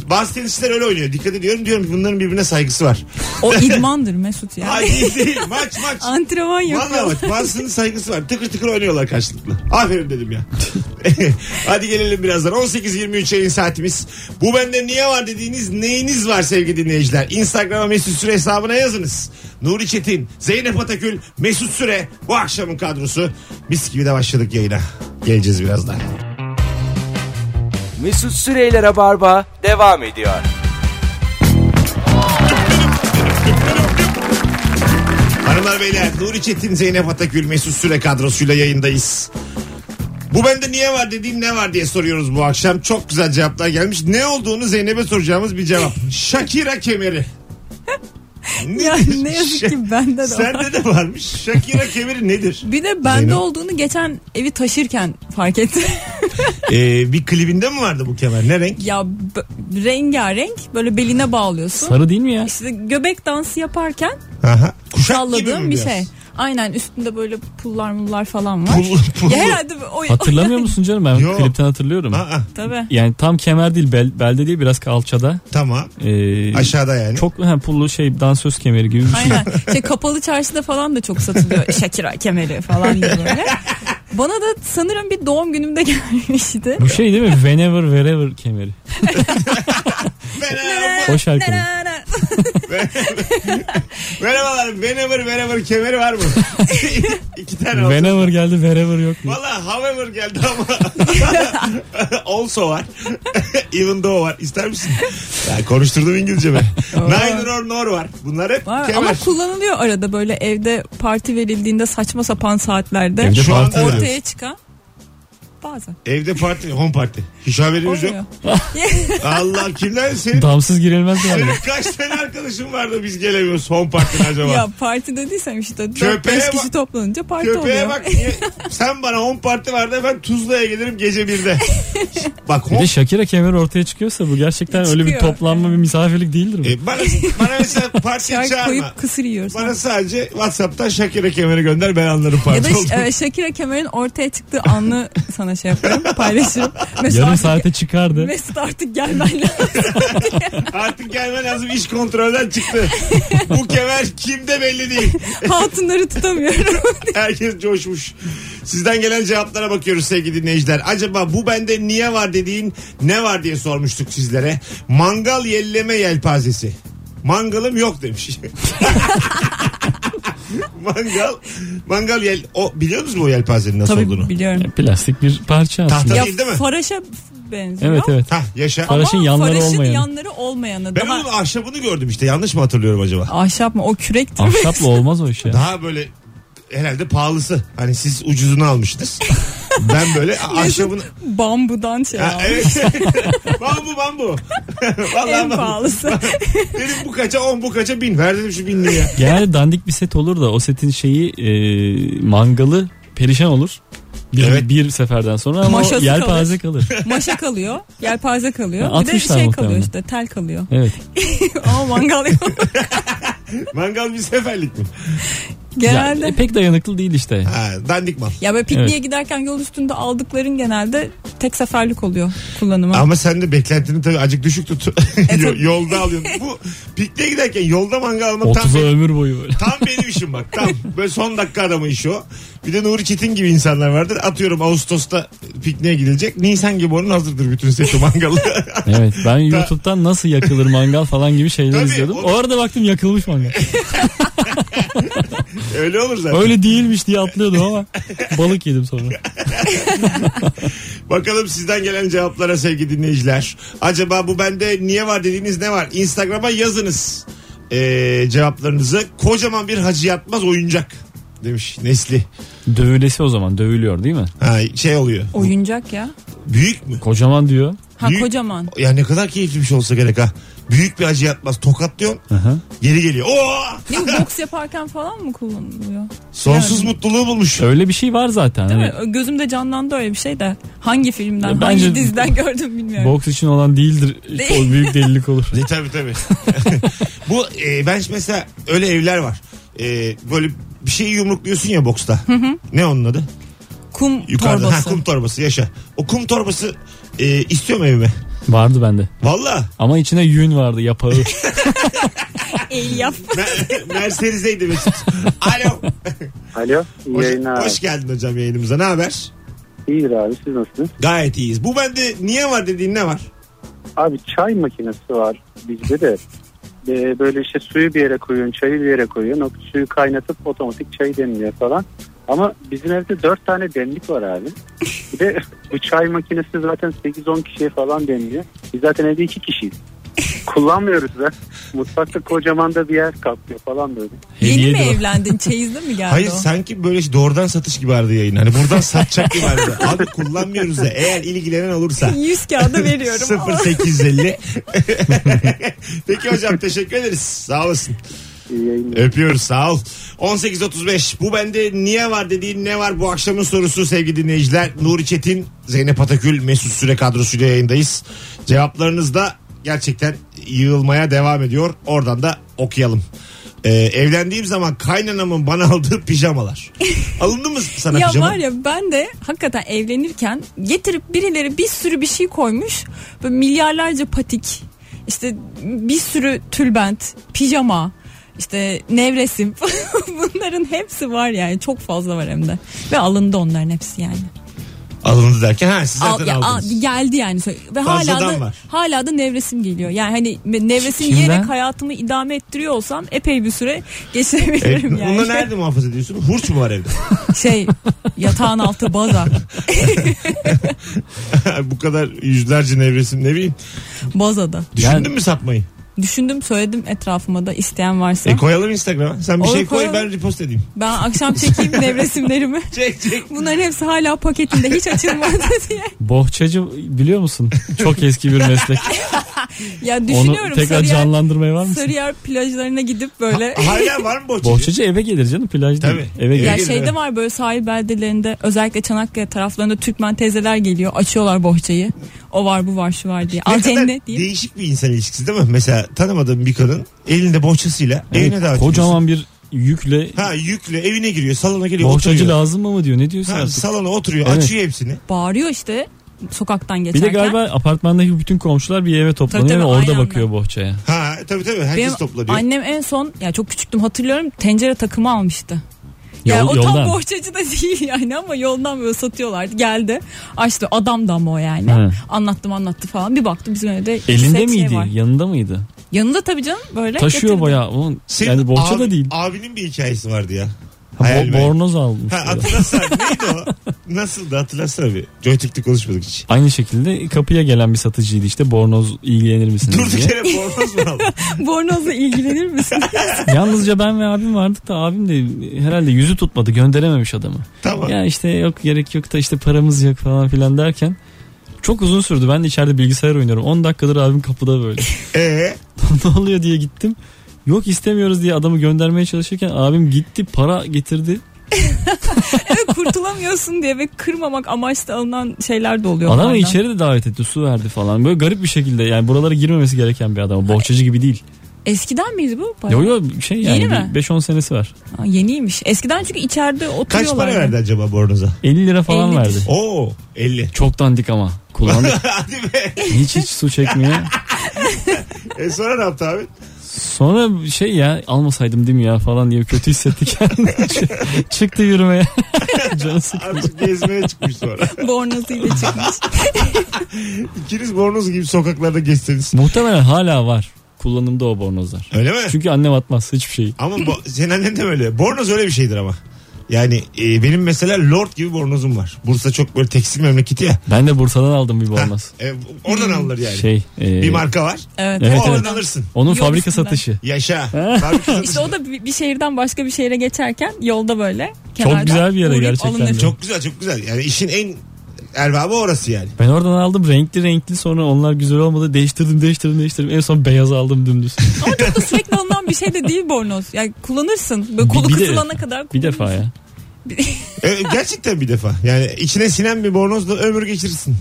Bazı tenisçiler öyle oynuyor. Dikkat ediyorum diyorum ki bunların birbirine saygısı var. O idmandır Mesut ya. Ay değil, değil. Maç maç. Antrenman Valla yapıyor. bak bazısının saygısı var. Tıkır tıkır oynuyorlar karşılıklı. Aferin dedim ya. Hadi gelelim birazdan. 18.23 yayın saatimiz. Bu bende niye var dediğiniz neyiniz var sevgili dinleyiciler? Instagram'a Mesut Süre hesabına yazınız. Nuri Çetin, Zeynep Atakül, Mesut Süre bu akşamın kadrosu. Mis gibi de başladık yayına. Geleceğiz birazdan. Mesut Süreyler'e barba devam ediyor. Hanımlar beyler Nuri Çetin, Zeynep Atakül, Mesut Süre kadrosuyla yayındayız. Bu bende niye var dediğin ne var diye soruyoruz bu akşam. Çok güzel cevaplar gelmiş. Ne olduğunu Zeynep'e soracağımız bir cevap. Şakira kemeri. Ya Nedir? ne yazık Şa- ki bende de var. Sende Şey, de varmış. Şakira kemeri nedir? Bir de bende Zeynep. olduğunu geçen evi taşırken fark ettim. Ee, bir klibinde mi vardı bu kemer? Ne renk? ya b- rengarenk böyle beline bağlıyorsun. Sarı değil mi ya? İşte göbek dansı yaparken Aha. Kuşak gibi mi salladığım bir biraz? şey. Aynen üstünde böyle pullar mullar falan var. Pullu pullu. Ya herhalde o, o- Hatırlamıyor musun canım ben Yok. klipten hatırlıyorum. Aa, Tabii. Yani tam kemer değil bel- belde değil biraz kalçada. tamam. Ee, Aşağıda yani. Çok ha, pullu şey dansöz kemeri gibi bir şey. Aynen. Şey, kapalı çarşıda falan da çok satılıyor. Şakira kemeri falan gibi böyle. Bana da sanırım bir doğum günümde gelmişti. Bu şey değil mi? Whenever wherever kemeri. Merhaba. O şarkının. Merhabalar. Whenever wherever kemeri var mı? İki tane olsun. Whenever geldi wherever yok. mu? Valla however geldi ama also var. Even though var. İster misin? Ya konuşturdum İngilizce ben. Neither or nor var. Bunlar hep Var, kemer. ama kullanılıyor arada böyle evde parti verildiğinde saçma sapan saatlerde Evde Şu parti anda- veriyor. ortaya çıkan bazen Evde parti, home party. Hiç haberimiz yok. olmuyor. Allah kimler senin? Damsız girilmez yani. Şey- senin kaç tane arkadaşım vardı biz gelemiyoruz home party'ne acaba? Ya parti dediysem işte Köpeğe 4-5 bak- kişi toplanınca parti Köpeğe oluyor. bak. niye- Sen bana home party vardı ben Tuzla'ya gelirim gece birde. Bak Bir home de Shakira kemeri ortaya çıkıyorsa bu gerçekten öyle bir Çıkıyor. toplanma bir misafirlik değildir bu. E, bana, bana mesela partiye Çay çağırma. koyup kısır yiyoruz. Bana sadece Whatsapp'tan Şakir'e kemeri gönder ben anlarım Ya parti da olduğunu. e, Shakira Kemer'in ortaya çıktığı anı sana şey yaparım, paylaşırım. Mesut Yarım artık- saate çıkardı. Mesut artık gelmen lazım. Artık gelmen lazım iş kontrolden çıktı. Bu kemer kimde belli değil. Hatunları tutamıyorum. Herkes coşmuş. Sizden gelen cevaplara bakıyoruz sevgili dinleyiciler. Acaba bu bende niye var dediğin ne var diye sormuştuk sizlere. Mangal yelleme yelpazesi. Mangalım yok demiş. mangal mangal yel o biliyor musunuz bu yelpazenin nasıl Tabii olduğunu? biliyorum. Ya, Plastik bir parça aslında. Tahta- Ya değil, değil mi? Faraş'a benziyor. Evet evet. Hah yaşa. Ama- Faraş'ın yanları Faraş'ın olmayanı. yanları olmayanı. Ben Daha onun ahşabını gördüm işte yanlış mı hatırlıyorum acaba? ahşap mı? O kürekti mi? Ahşapla olmaz o iş ya. Daha böyle herhalde pahalısı. Hani siz ucuzunu almıştınız. ben böyle ahşabını... Bambudan şey Ha, almış. evet. bambu bambu. Vallahi En bambu. pahalısı. Dedim bu kaça on bu kaça bin. Ver dedim şu binliği ya. Genelde dandik bir set olur da o setin şeyi e, mangalı perişan olur. Bir, Evet. bir seferden sonra ama o Maşası yelpaze kalır. Maşa kalıyor. Yelpaze kalıyor. Ya, bir de atmışlar şey kalıyor muhtemelen. işte. Tel kalıyor. Evet. Ama mangal yok. Mangal bir seferlik mi? Genelde. Ya, e, pek dayanıklı değil işte. Ha, dandik mal. Ya böyle pikniğe Evet. giderken yol üstünde aldıkların genelde tek seferlik oluyor kullanıma. Ama sen de beklentini tabii acık düşük tut. Yo- E, tabii. yolda alıyorsun. Bu pikniğe giderken yolda mangal almak tam 30'a benim, ömür boyu böyle. tam benim işim bak. Tam böyle son dakika adamın işi o. Bir de Nuri Çetin gibi insanlar vardır. Atıyorum Ağustos'ta pikniğe gidilecek. Nisan gibi onun hazırdır bütün seti mangalı. Evet ben YouTube'dan nasıl yakılır mangal falan gibi şeyler Tabii, izliyordum. onu- Orada baktım yakılmış mangal. Öyle olur zaten. Öyle değilmiş diye atlıyordum ama balık yedim sonra. Bakalım sizden gelen cevaplara sevgili dinleyiciler. Acaba bu bende niye var dediğiniz ne var? Instagram'a yazınız ee, cevaplarınızı. Kocaman bir hacı yatmaz oyuncak demiş Nesli. Dövülesi o zaman dövülüyor değil mi? Ha, şey oluyor. Oyuncak ya. Büyük mü? Kocaman diyor. Ha Büyük- kocaman. Ya ne kadar keyifli bir şey olsa gerek ha. Büyük bir acı yatmaz. Tokatlıyorsun. Aha. Geri geliyor. Oo! Ne bu, boks yaparken falan mı kullanılıyor? Sonsuz Yani. mutluluğu bulmuş. Öyle bir şey var zaten. Değil Hani mi? Gözümde canlandı öyle bir şey de. Hangi filmden, Ya hangi bence- diziden gördüm bilmiyorum. boks için olan değildir. Değil. O büyük delilik olur. E, tabii tabii. Bu e, ben şimdi mesela öyle evler var. E, böyle bir şeyi yumrukluyorsun ya boksta. Ne onun adı? kum Yukarıda. torbası. Ha, kum torbası yaşa. O kum torbası e, istiyorum evime. Vardı bende. Valla. Ama içine yün vardı yapağı. El yap. Mer- Mercedes'eydi Mesut. Alo. Alo. iyi Hoş, yayınlar. hoş geldin hocam yayınımıza. Ne haber? İyidir abi siz nasılsınız? Gayet iyiyiz. Bu bende niye var dediğin ne var? Abi çay makinesi var bizde de. Ee, böyle işte suyu bir yere koyuyorsun, çayı bir yere koyuyorsun. O suyu kaynatıp otomatik çay demliyor falan. Ama bizim evde 4 tane demlik var abi. Bir de bu çay makinesi zaten 8-10 kişiye falan demliyor. Biz zaten evde 2 kişiyiz. Kullanmıyoruz da. Mutfakta kocaman da bir yer kaplıyor falan böyle. Yeni mi Hediyeydi o. evlendin? Çeyizli mi geldi Hayır o? sanki böyle işte doğrudan satış gibi vardı yayın. Hani buradan satacak gibi vardı. Abi kullanmıyoruz da eğer ilgilenen olursa. 100 kağıda veriyorum. 0850. Peki hocam teşekkür ederiz. Sağ olasın. İyi yayınlar. Öpüyoruz sağ ol. 18.35 bu bende niye var dediğin ne var bu akşamın sorusu sevgili dinleyiciler. Nuri Çetin, Zeynep Atakül, Mesut Süre kadrosuyla yayındayız. Cevaplarınız da gerçekten yığılmaya devam ediyor. Oradan da okuyalım. Ee, evlendiğim zaman kaynanamın bana aldığı pijamalar. Alındı mı sana ya pijama? var ya ben de hakikaten evlenirken getirip birileri bir sürü bir şey koymuş. Böyle milyarlarca patik, işte bir sürü tülbent, pijama, işte nevresim. Bunların hepsi var yani. Çok fazla var hem de. Ve alındı onların hepsi yani. Alındı derken ha siz zaten Al, ya, al- aldınız. geldi yani. Ve hala Fazladan da, var. hala da nevresim geliyor. Yani hani nevresim Kimden? yiyerek hayatımı idame ettiriyor olsam epey bir süre E, geçirebilirim yani. Bunları nerede muhafaza ediyorsun? Hurç mu var evde? Şey yatağın altı baza. Bu kadar yüzlerce nevresim ne bileyim. Bazada. Düşündün Yani- mü satmayı? Düşündüm söyledim etrafıma da isteyen varsa. E koyalım Instagram'a. Sen bir Olur, şey koy koyalım. ben repost edeyim. ben akşam çekeyim nevresimlerimi. Çek çek. Bunların hepsi hala paketinde hiç açılmadı diye. Bohçacı biliyor musun? Çok eski bir meslek. Ya Onu düşünüyorum tekrar Sarıyer, canlandırmaya var mısın? Sarıyer plajlarına gidip böyle. Hala var mı bohçacı? Bohçacı eve gelir canım plaj değil. Tabii. Eve ya gelir. gelin, evet. şeyde var böyle sahil beldelerinde özellikle Çanakkale taraflarında Türkmen teyzeler geliyor açıyorlar bohçayı. O var bu var şu var diye. Ne Al kadar cennet diye. değişik bir insan ilişkisi değil mi? Mesela tanımadığım bir kadın elinde bohçasıyla Evet, evine davet ediyorsun. kocaman bir yükle Ha yükle evine giriyor salona geliyor bohçacı oturuyor. lazım mı diyor. Ne diyorsun Ha, artık? salona oturuyor Evet. açıyor hepsini. Bağırıyor işte sokaktan bir geçerken. de galiba apartmandaki bütün komşular bir eve toplanıyor tabii, ve orada aynı bakıyor bohçaya. Ha tabii tabii herkes Benim toplanıyor. annem en son ya çok küçüktüm hatırlıyorum tencere takımı almıştı. Yol, Ya o yoldan. tam bohçacı da değil yani ama yoldan böyle satıyorlardı. Geldi açtı adam da ama o yani. Hı. Anlattım anlattı falan. Bir baktım bizim evde Elinde set şey miydi? var. Yanında mıydı? Yanında tabii canım böyle. Taşıyor getirdi. bayağı. Ulan, Senin yani bohça da abi- değil. Abinin bir hikayesi vardı ya. Ha, Hayal bo- meyal. bornoz almış. Ha, hatırlasana neydi o? Nasıldı hatırlasana bir. Joytürk'te konuşmadık hiç. Aynı şekilde kapıya gelen bir satıcıydı işte bornoz ilgilenir misiniz Durduk diye. yere bornoz mu aldın? Bornozla ilgilenir misin? Yalnızca ben ve abim vardık da abim de herhalde yüzü tutmadı gönderememiş adamı. Tamam. Ya işte yok gerek yok da işte paramız yok falan filan derken çok uzun sürdü. Ben de içeride bilgisayar oynuyorum. 10 dakikadır abim kapıda böyle. Ee, ne oluyor diye gittim. Yok istemiyoruz diye adamı göndermeye çalışırken abim gitti para getirdi. Kurtulamıyorsun diye ve kırmamak amaçlı alınan şeyler de oluyor. Adamı bunlardan. içeri de davet etti su verdi falan. Böyle garip bir şekilde yani buralara girmemesi gereken bir adam. Bohçacı gibi değil. Eskiden miydi bu? Bayağı- Yo yo şey Yeni yani mi? bir 5-10 senesi var. Aa, yeniymiş. Eskiden çünkü içeride kaç oturuyorlar. para verdi acaba bornoza? 50 lira falan 50 verdi. Oo 50. Çok dandik ama. Kullandık. Hadi be. hiç hiç su çekmiyor. E sonra ne yaptı abi? Sonra şey ya almasaydım değil mi ya falan diye kötü hissetti kendini. Ç- Çıktı yürümeye. Canı sık- Azıcık gezmeye çıkmış sonra. Bornozuyla çıkmış. İkiniz bornoz gibi sokaklarda gezseniz. Muhtemelen hala var. Kullanımda o bornozlar. Öyle mi? Çünkü annem atmaz hiçbir şey. şeyi. Ama bo- senin annen de öyle. Bornoz öyle bir şeydir ama. Yani e, benim mesela lord gibi bornozum var. Bursa çok böyle tekstil memleketi ya. Ben de Bursa'dan aldım bir bornoz. E, oradan alınır yani. Şey. e, Bir marka var. Evet. Evet, oradan evet. alırsın. onun Yol fabrika üstünden. satışı. Yaşa. Fabrika İşte o da bir bir şehirden başka bir şehre geçerken yolda böyle. güzel bir yere uğrayıp gerçekten de. alınır. çok güzel çok güzel. Yani işin en Erbabı orası yani. Ben oradan aldım renkli renkli sonra onlar güzel olmadı değiştirdim değiştirdim değiştirdim en son beyaz aldım dümdüz. Ama çok da sürekli alınan bir şey de değil bornoz. Yani kullanırsın. Böyle kolu Bir- bir de- kısılana kadar Bir defa ya. E, gerçekten bir defa. Yani içine sinen bir bornozla ömür geçirirsin.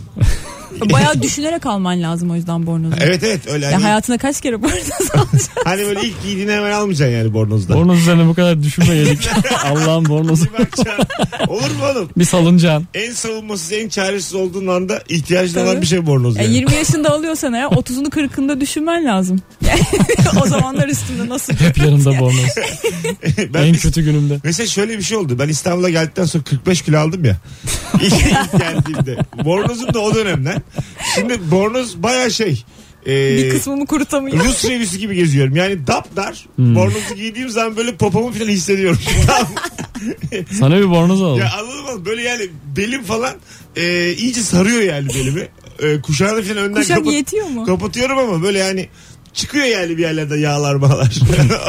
kullan- Bayağı düşünerek alman lazım o yüzden bornozu. Evet evet öyle. Ya Hani, hayatına kaç kere bornoz alacaksın? hani böyle ilk giydiğini hemen almayacaksın yani bornozda. Bornoz üzerine bu kadar düşünmeyelim. Allah'ım bornozu. Bir bakacaksın. Olur mu oğlum? Bir salıncan. En savunmasız, en çaresiz olduğun anda ihtiyacın olan Tabii. E, bir şey bornoz Ya yani. 20 yaşında alıyorsan eğer 30'unu 40'ında düşünmen lazım. o zamanlar üstünde nasıl? Hep yanımda bornoz. ben en bir- kötü günümde. Mesela şöyle bir şey oldu. Ben İstanbul'a geldikten sonra 45 kilo aldım ya. İlk ilk geldiğimde. Bornozum da o dönemden. Şimdi bornoz baya şey. e, Bir kısmımı kurutamıyorum. Rus revisi gibi geziyorum. Yani dapdar. Hmm. Bornozu giydiğim zaman böyle popomu falan hissediyorum. Tamam. Sana bir bornoz alalım. ya anladın mı? Böyle yani belim falan e, iyice sarıyor yani belimi. E, kuşağını falan önden Kuşak kapat- yetiyor mu? kapatıyorum ama böyle yani çıkıyor yani bir yerlerde yağlar bağlar.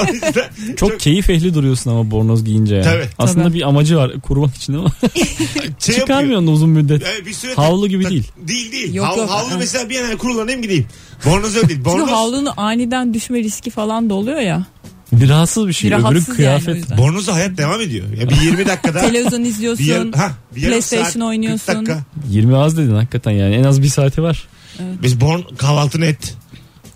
o yüzden çok, keyif ehli duruyorsun ama bornoz giyince ya. Tabii. Aslında Tabii. bir amacı var kurmak için ama şey yapıyor. çıkarmıyorsun da uzun müddet. Yani bir süre Havlu gibi tak- değil. Değil değil. Yok, Hav- yok. havlu Ha. mesela bir yana kurulanayım gideyim. Bornoz öyle değil. Çünkü Bornoz, havlunu aniden düşme riski falan da oluyor ya. Bir rahatsız bir şey. Bir Öbürü rahatsız yani o kıyafet. yüzden. bornozda hayat devam ediyor. Ya bir 20 dakikada Televizyon bir yar- izliyorsun. ha, bir yarım saat, PlayStation 40 oynuyorsun. dakika. 20 az dedin hakikaten yani. En az bir saati var. Biz born kahvaltını et.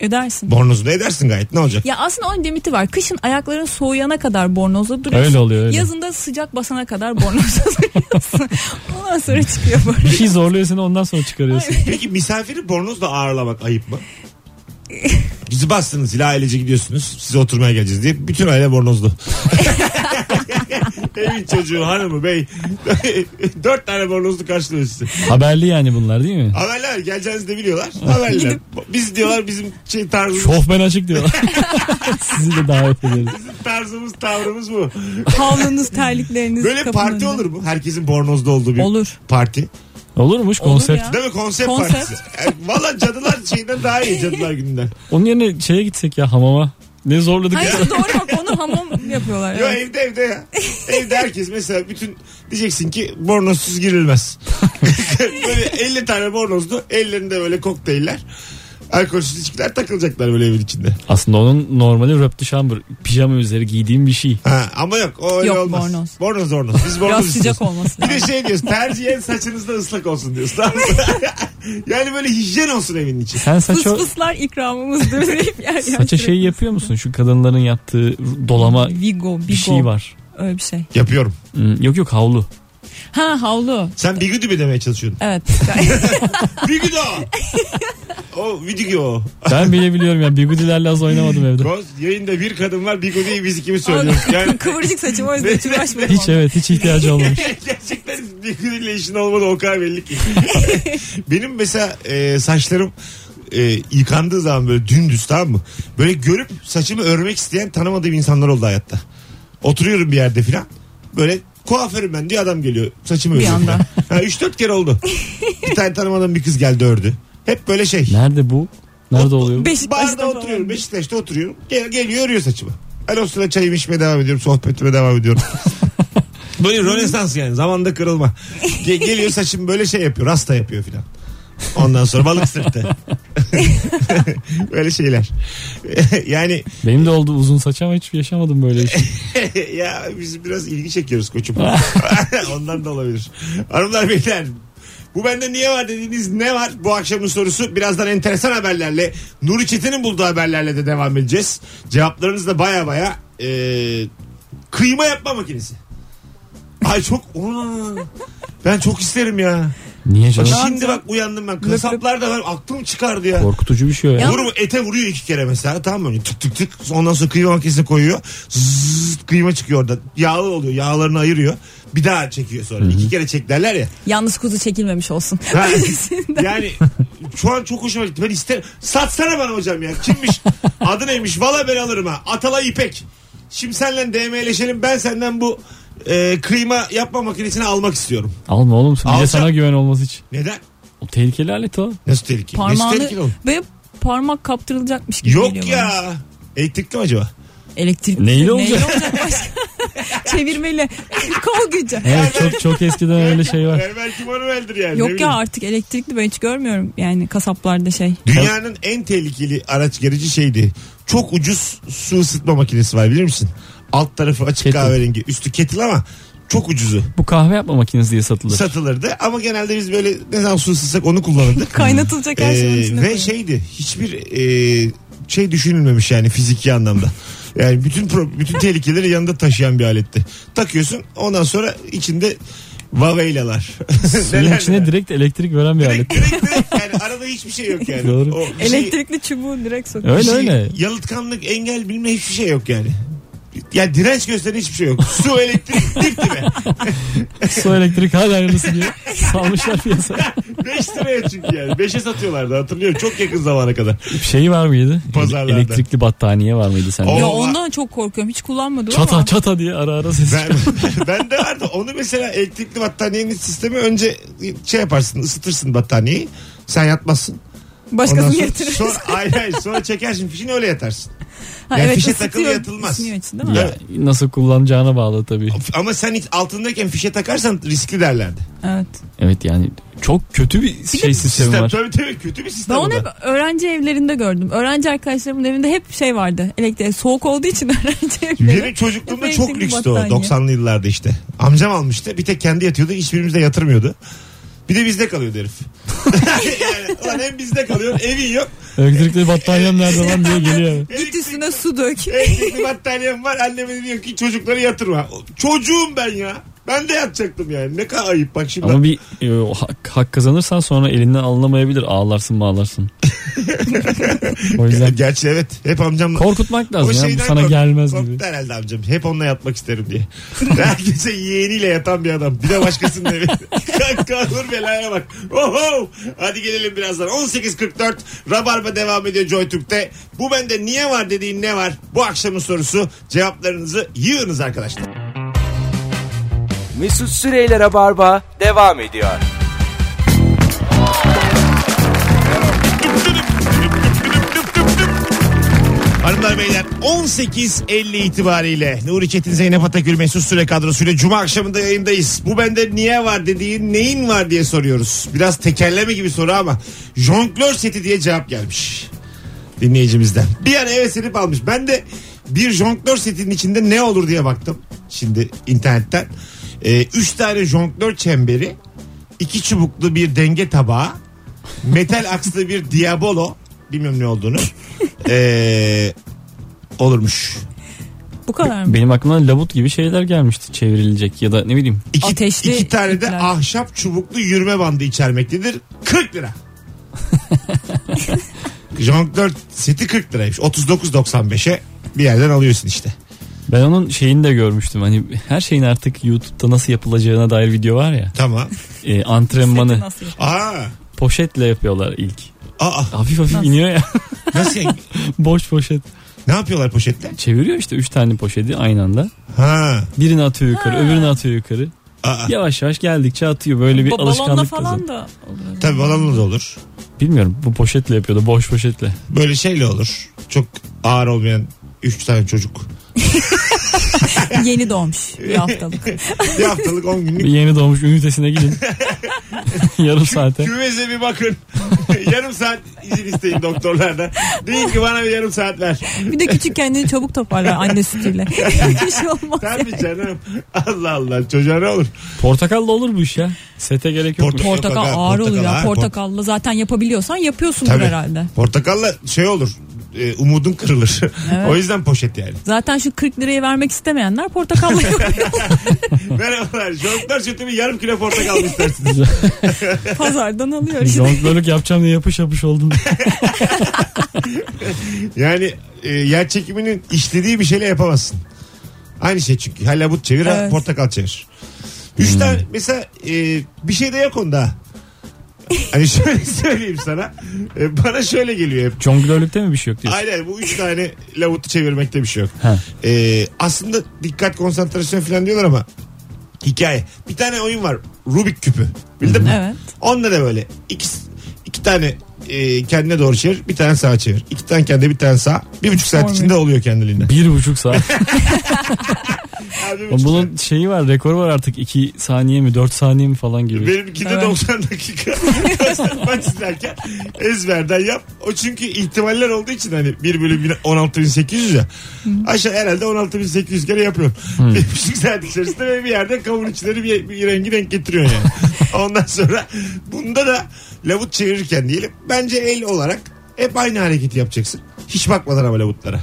Ödersin. Bornozunu edersin gayet. Ne olacak? Ya aslında onun limiti var. Kışın ayakların soğuyana kadar bornozla duruyorsun. Öyle oluyor, öyle. Yazında sıcak basana kadar bornozla duruyorsun. Ondan sonra çıkıyor Bir bornoz. şey zorluyor seni ondan sonra çıkarıyorsun. Peki misafiri bornozla ağırlamak ayıp mı? Bizi bastınız ile ailece gidiyorsunuz. Size oturmaya geleceğiz diye. Bütün aile bornozlu. Evin çocuğu, hanımı, bey. Dört tane bornozlu karşılıyor sizi. Haberli yani bunlar değil mi? Haberler geleceğinizi de biliyorlar. Haberler. Biz diyorlar bizim şey tarzımız, Şof ben açık diyorlar. Sizi de davet ederiz. tarzımız tavrımız bu. Havlunuz, terlikleriniz. Böyle kapının parti önünde. olur mu? Herkesin bornozda olduğu bir Olur. parti. Olurmuş konsept. ya. Değil mi? Konsept, Konsept. partisi. Yani Valla cadılar şeyinden daha iyi cadılar gününden. Onun yerine şeye gitsek ya hamama. Ne zorladık Hayır ya. doğru bak onu hamam yapıyorlar. Yo evet. evde evde ya. evde herkes mesela bütün diyeceksin ki bornozsuz girilmez. böyle 50 tane bornozlu ellerinde böyle kokteyller. Alkolsüz içkiler takılacaklar böyle evin içinde. Aslında onun normali röptü şambur. Pijama üzeri giydiğim bir şey. Ha, ama yok o öyle Yok, olmaz. bornoz. Bornoz bornoz. Biz bornoz Biraz istiyoruz. sıcak olması Bir de lazım. şey diyorsun tercihen saçınız da ıslak olsun diyorsun. Tamam mı? yani böyle hijyen olsun evin içi. Sen Fıs saça, fıslar ikramımızdır deyip yer yer saça şey sürekli- yapıyor musun? Şu kadınların yaptığı dolama Vigo, Vigo. bir şey var. Öyle bir şey. Yapıyorum. Hmm, Yok yok havlu. Ha havlu. Sen bigüdü mü demeye çalışıyorsun? Evet. bigüdü o. O video o. Ben bile biliyorum ya. Bigudilerle az oynamadım evde. Koz, yayında bir kadın var bigüdüyü biz ikimiz söylüyoruz. Yani Kıvırcık saçım o yüzden hiç uğraşmıyorum. Hiç evet hiç ihtiyacı olmamış. Gerçekten birbiriyle işin olmadı o kadar belli ki. Benim mesela e, saçlarım e, yıkandığı zaman böyle dümdüz tamam mı? Böyle görüp saçımı örmek isteyen tanımadığım insanlar oldu hayatta. Oturuyorum bir yerde filan. Böyle kuaförüm ben diye adam geliyor. Saçımı Bir örüyor. anda. filan. Ha, 3-4 kere oldu. bir tane tanımadığım bir kız geldi ördü. Hep böyle şey. Nerede bu? Nerede oluyor? Beşiktaş'ta Barda falan. oturuyorum. Beşiktaş'ta oturuyorum. Gel, geliyor örüyor saçımı. Ben o sırada çayımı içmeye devam ediyorum. Sohbetime devam ediyorum. böyle rönesans yani. Zamanda kırılma. Ge- geliyor saçımı böyle şey yapıyor. Rasta yapıyor filan. Ondan sonra balık sırtı. böyle şeyler. yani Benim de oldu uzun saç ama hiç yaşamadım böyle bir şey. ya biz biraz ilgi çekiyoruz koçum. Ondan da olabilir. Hanımlar beyler bu bende niye var dediğiniz ne var? Bu akşamın sorusu birazdan enteresan haberlerle Nuri Çetin'in bulduğu haberlerle de devam edeceğiz. Cevaplarınız da baya baya e, kıyma yapma makinesi. Ay çok Ulan. ben çok isterim ya. Niye canım? Şimdi bak uyandım ben. Kasaplar da var. Aklım çıkardı ya. Korkutucu bir şey o ya. Ya- Vurur mu? Ete vuruyor iki kere mesela tamam mı? Tık tık tık. Ondan sonra kıyma makinesine koyuyor. Zzzz, kıyma çıkıyor orada. Yağlı oluyor. Yağlarını ayırıyor. Bir daha çekiyor sonra. İki kere çek derler ya. Yalnız kuzu çekilmemiş olsun. Ha, yani şu an çok hoşuma gitti. Ben isterim. Satsana bana hocam ya. Kimmiş? Adı neymiş? Valla ben alırım ha. Atala İpek. Şimdi seninle DM'leşelim. Ben senden bu e, kıyma yapma makinesini almak istiyorum. Alma oğlum. Bir Alacağım. de sana güven olmaz hiç. Neden? O tehlikeli alet o. Nasıl tehlikeli? Nasıl Parmağını tehlikeli oğlum? ve parmak kaptırılacakmış gibi geliyor Yok bana. ya. Elektrikli mi acaba? Elektrik. Neyle olacak? başka? çevirmeli. Kol gücü. Evet çok çok eskiden öyle şey var. Yani belki manueldir yani. ne Yok ya bileyim. artık elektrikli ben hiç görmüyorum yani kasaplarda şey. Dünyanın en tehlikeli araç gereci şeydi. Çok ucuz su ısıtma makinesi var bilir misin? Alt tarafı açık Kettle. kahverengi. Üstü kettle ama çok ucuzu. Bu kahve yapma makinesi diye satılır. Satılırdı ama genelde biz böyle ne zaman su ısıtsak onu kullanırdık. Kaynatılacak her şeyin Ee, içine ve koyuyor. şeydi hiçbir e, şey düşünülmemiş yani fiziki anlamda. Yani bütün pro- bütün tehlikeleri yanında taşıyan bir aletti. Takıyorsun ondan sonra içinde vaveylalar. Suyun Neler içine neler. direkt elektrik veren bir alet. Direkt, direkt, direkt. yani arada hiçbir şey yok yani. Doğru. bir şey- Elektrikli çubuğu direkt sokuyor. Öyle bir şey- öyle. Yalıtkanlık, engel bilme hiçbir şey yok yani. Ya direnç gösteren hiçbir şey yok. Su, elektrik, dik dibe. Su elektrik hala aynısı diye salmışlar piyasaya. 5 liraya çünkü yani. 5'e satıyorlardı hatırlıyorum. Çok yakın zamana kadar. Bir şey var mıydı? Pazarlarda. Elektrikli battaniye var mıydı sende? O- Ya Vallahi- ondan çok korkuyorum. Hiç kullanmadım ama. Çata çata diye ara ara ses. Ben, ben de vardı. Onu mesela elektrikli battaniyenin sistemi önce şey yaparsın ısıtırsın battaniyeyi. Sen yatmazsın. Başkasını sonra, getirir. sonra, hayır, hayır, sonra çekersin fişini öyle yatarsın. Ha, yani fişe ısıtıyor, takılı yatılmaz. ısınıyor için, değil mi? Ya, nasıl kullanacağına bağlı tabii. Ama sen hiç altındayken fişe takarsan riskli derlerdi. Evet. Evet yani çok kötü bir şey sistemi Sistem, var. tabii tabii kötü bir Ben sistem. o onu da. hep öğrenci evlerinde gördüm. Öğrenci arkadaşlarımın evinde hep şey vardı. Elektrik soğuk olduğu için öğrenci evleri. Benim çocukluğumda Hep çok elektrikli lükstü o battaniye. 90'lı yıllarda işte. Amcam almıştı. Bir tek kendi yatıyordu. Hiçbirimiz de yatırmıyordu. Bir de bizde kalıyordu herif. yani, ulan hem bizde kalıyor evin yok. Elektrikli battaniyem nerede lan diye geliyor. Git üstüne su dök. Elektrikli battaniyem var. Anneme diyor ki çocukları yatırma. Çocuğum ben ya. Ben de yatacaktım yani. Ne kadar ayıp bak şimdi. Ama bir e, o hak, hak kazanırsan sonra elinden alınamayabilir. Ağlarsın ağlarsın. o yüzden Gerçi evet. Hep amcam korkutmak lazım ya. Bu şeyden sana kork- gelmez korktu gibi. herhalde amcam. Hep onunla yatmak isterim diye. Herkese yeğeniyle yatan bir adam. Bir de başkasının evi. Kalkar belaya bak. Oho! Hadi gelelim birazdan. 18.44 Rabarba devam ediyor JoyTürk'te. Bu bende niye var dediğin ne var? Bu akşamın sorusu. Cevaplarınızı yığınız arkadaşlar. Mesut Süreyler'e barba devam ediyor. Hanımlar beyler 18.50 itibariyle Nuri Çetin Zeynep Atakül Mesut Süre kadrosuyla Cuma akşamında yayındayız. Bu bende niye var dediğin neyin var diye soruyoruz. Biraz tekerleme gibi soru ama jonglör seti diye cevap gelmiş dinleyicimizden. Bir an eve serip almış. Ben de bir jonglör setinin içinde ne olur diye baktım şimdi internetten. Ee, üç tane jonglör çemberi, iki çubuklu bir denge tabağı, metal akslı bir diabolo bilmiyorum ne olduğunu. Ee, olurmuş. Bu kadar mı? Benim aklıma labut gibi şeyler gelmişti çevrilecek ya da ne bileyim. İki, Ateşli iki tane de ipler. ahşap çubuklu yürüme bandı içermektedir. 40 lira. Jonglör seti 40 liraymış. 39.95'e bir yerden alıyorsun işte. Ben onun şeyini de görmüştüm. Hani her şeyin artık YouTube'da nasıl yapılacağına dair video var ya. Tamam. E, antrenmanı Nasıl? Aa. poşetle yapıyorlar ilk. Aa. Hafif hafif Nasıl? iniyor ya. Nasıl? yani? Boş poşet. ne yapıyorlar poşetle? Çeviriyor işte 3 tane poşeti aynı anda. Ha. Ah. Birini atıyor yukarı, Ha. öbürünü atıyor yukarı. Aa. Yavaş yavaş geldikçe atıyor. Böyle bir Ba- balonla alışkanlık. kazan- falan da olur. Tabii balonla da olur. Bilmiyorum bu poşetle yapıyordu boş poşetle. Böyle şeyle olur. Çok ağır olmayan 3 tane çocuk. Yeni doğmuş bir haftalık. Bir haftalık 10 günlük Bir yeni doğmuş ünitesine gidin. Yarım saate. Kümese bir bakın. yarım saat izin isteyin doktorlardan. Deyin ki bana bir yarım saat ver. Bir de küçük kendini çabuk toparlar anne sütüyle. bir şey olmaz. Tabii canım. Allah Allah çocuğa ne olur. Portakalla olur bu iş ya. Sete gerek yok. Porta- Portakal Yok, aga, ağır olur portakal ağır. ya. Portakallı zaten yapabiliyorsan yapıyorsundur Tabii. herhalde. Portakalla şey olur. e, umudun kırılır. o yüzden poşet yani. Zaten şu 40 lirayı vermek istemeyenler portakallı yapıyor. Merhabalar. Çocuklar sütü bir yarım kilo portakal mı istersiniz? Pazardan alıyor işte. Jonglörlük yapacağım diye yapış yapış oldum. Yani e, yer çekiminin işlediği bir şeyle yapamazsın. Aynı şey çünkü. Hala bu çevir, ha, Evet. portakal çevir. Üç tane mesela e, bir şey de yok onda. Hani şöyle söyleyeyim sana. E, bana şöyle geliyor hep. Jonglörlükte mi bir şey yok diyorsun? Aynen bu üç tane lavutu çevirmekte bir şey yok. Ha. Ee, aslında dikkat konsantrasyon falan diyorlar ama hikaye. Bir tane oyun var Rubik küpü bildin mi? Evet. Onda da böyle iki, iki tane e, kendine doğru çevir bir tane sağa çevir. İki tane kendine bir tane sağ. Bir buçuk saat Formül. içinde oluyor kendiliğinden. Bir buçuk saat. Abi üç Bunun şeyi var rekoru var artık 2 saniye mi 4 saniye mi falan gibi. Benimkinde Evet. 90 dakika. Maç izlerken ezberden yap. O çünkü ihtimaller olduğu için hani 1 bölü 16800 ya. Aşağı herhalde 16800 kere yapıyorum. Bir buçuk saat içerisinde ve bir yerde kavun içleri bir, bir rengi denk getiriyorsun yani. Ondan sonra bunda da lavut çevirirken diyelim bence el olarak hep aynı hareketi yapacaksın. Hiç bakmadan ama lavutlara.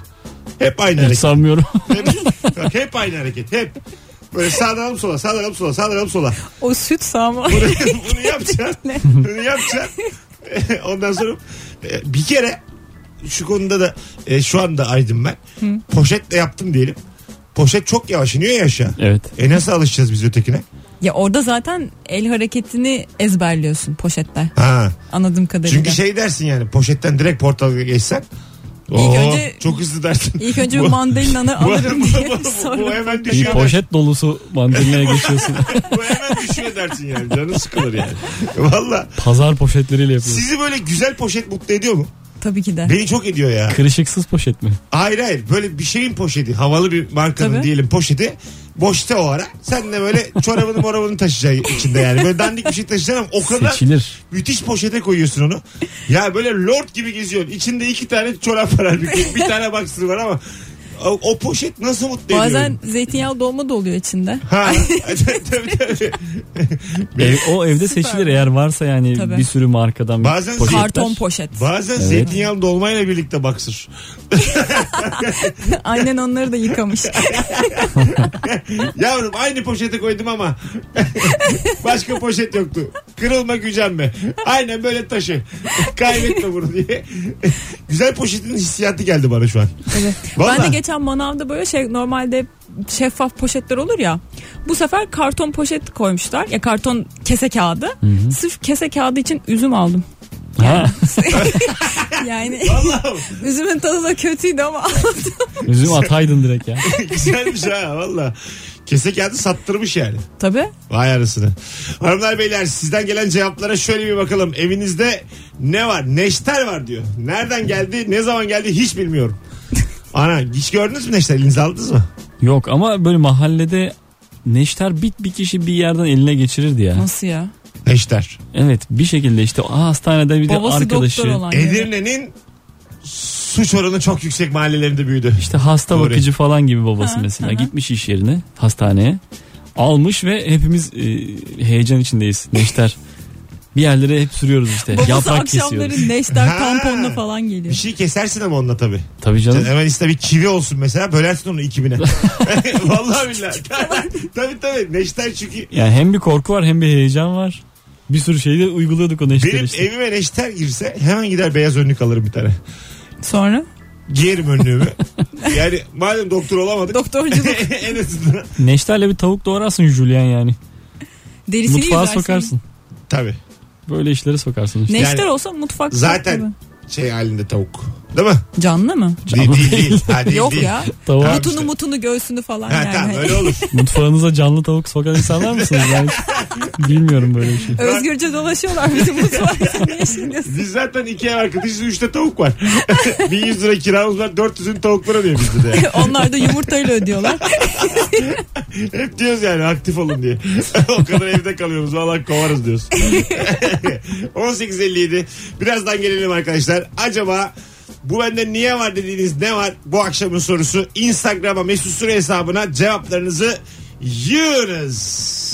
Hep aynı Hiç hareket. sanmıyorum. Hep, bak hep aynı hareket. Hep. Böyle sağdan alıp sola, sağdan alıp sola, sağdan alıp sola. O süt sağma. Bunu, bunu yapacaksın. bunu yapacaksın. Ondan sonra e, bir kere şu konuda da e, şu anda aydın ben. Poşetle yaptım diyelim. Poşet çok yavaş iniyor ya aşağı. evet. E nasıl alışacağız biz ötekine? ya orada zaten el hareketini ezberliyorsun poşette. Ha. Anladığım kadarıyla. Çünkü şey dersin yani poşetten direkt portala geçsen. Oo, önce- çok hızlı dersin. İlk önce Bu- mandalinanı bu- alırım bu- diye bu- bu- sonra. bu hemen Bir düşüyor. poşet dolusu mandalinaya geçiyorsun. Bu hemen düşüyor dersin yani. Canın sıkılır yani. Valla. Pazar poşetleriyle yapıyorsun. Sizi böyle güzel poşet mutlu ediyor mu? Tabii ki de. Beni çok ediyor ya. Kırışıksız poşet mi? Hayır hayır böyle bir şeyin poşeti havalı bir markanın Tabii. diyelim poşeti boşta o ara. Sen de böyle çorabını morabını taşıyacaksın içinde yani. Böyle dandik bir şey taşıyacaksın ama o kadar Seçilir. müthiş poşete koyuyorsun onu. Ya böyle lord gibi geziyorsun. İçinde iki tane çorap var halbuki. Bir tane baksır var ama o, o poşet nasıl mutlu ediyor? Bazen zeytinyağlı dolma da oluyor içinde. Ha, tabii, tabii. Ev, o evde Süper. seçilir eğer varsa yani Tabii. bir sürü markadan Bazen poşetler. Karton poşet. Bazen zeytinyağlı dolmayla birlikte baksır. Annen onları da yıkamış. Yavrum aynı poşete koydum ama başka poşet yoktu. Kırılma gücenme. Aynen böyle taşı. Kaybetme bunu diye. Güzel poşetin hissiyatı geldi bana şu an. Evet. Vallahi. Ben de geçen manavda böyle şey normalde şeffaf poşetler olur ya. Bu sefer karton poşet koymuşlar. Ya karton kese kağıdı. Sırf kese kağıdı için üzüm aldım. Ha, Yani Vallahi üzümün tadı da kötüydü ama aldım. üzüm ataydın direkt ya. güzelmiş ha valla. Kese kağıdı sattırmış yani. Tabii. Vay arasını. Hanımlar beyler sizden gelen cevaplara şöyle bir bakalım. Evinizde ne var? Neşter var diyor. Nereden geldi? Ne zaman geldi? Hiç bilmiyorum. Ana hiç gördünüz mü neşter? Elinize aldınız mı? Yok ama böyle mahallede neşter bir, bir kişi bir yerden eline geçirirdi ya. Nasıl ya? Neşter. Evet bir şekilde işte aa, hastanede bir de Babası arkadaşı. doktor olan. yani. Edirne'nin suç oranı çok yüksek mahallelerinde büyüdü. İşte hasta Doğru. bakıcı falan gibi babası Ha, mesela hı hı. gitmiş iş yerine hastaneye almış ve hepimiz e, heyecan içindeyiz neşter. bir yerlere hep sürüyoruz işte Babası yaprak akşamları kesiyoruz. Ha. neşter tamponla Bir falan geliyor. şey kesersin ama onunla tabii. Tabii Sen canım. hemen iste bir çivi olsun mesela bölersin onu ikibine. Vallahi billahi. tabii tabii. Neşter çünkü Yani hem bir korku var hem bir heyecan var. Bir sürü şeyi de uyguluyorduk o neşteri benim işte. evime neşter girse hemen gider beyaz önlük alırım bir tane. Sonra Giyerim önlüğümü. yani madem doktor olamadık doktorculuk en azından. Neşterle bir tavuk doğrarsın Julian yani. derisini Mutfağa yüzersin. sokarsın. Tabii. Böyle işlere sokarsın işte. Neşter Yani- olsa mutfak Zaten şey halinde tavuk. Değil mi? canlı mı? Değil değil. değil. Ha, değil, Yok değil. ya. Tavuğa- Tamam Mutunu işte. mutunu göğsünü falan Ha, yani. hani tamam öyle olur. Mutfağınıza canlı tavuk sokan insanlar mısınız? Ben hiç bilmiyorum böyle bir şey. Özgürce dolaşıyorlar bizim mutfağımızda. Ne yaşıyorsun? Biz zaten iki ev arkadaşız. Üçte tavuk var. 1100 lira kiramız var. 400'ün tavuklara diyor bizde de. Onlar da yumurtayla ödüyorlar. Hep diyoruz yani aktif olun diye. o kadar evde kalıyoruz. Valla kovarız diyoruz. 18.57. Birazdan gelelim arkadaşlar. Acaba bu bende niye var dediğiniz ne var? Bu akşamın sorusu. Instagram'a mesut süre hesabına cevaplarınızı yığınız.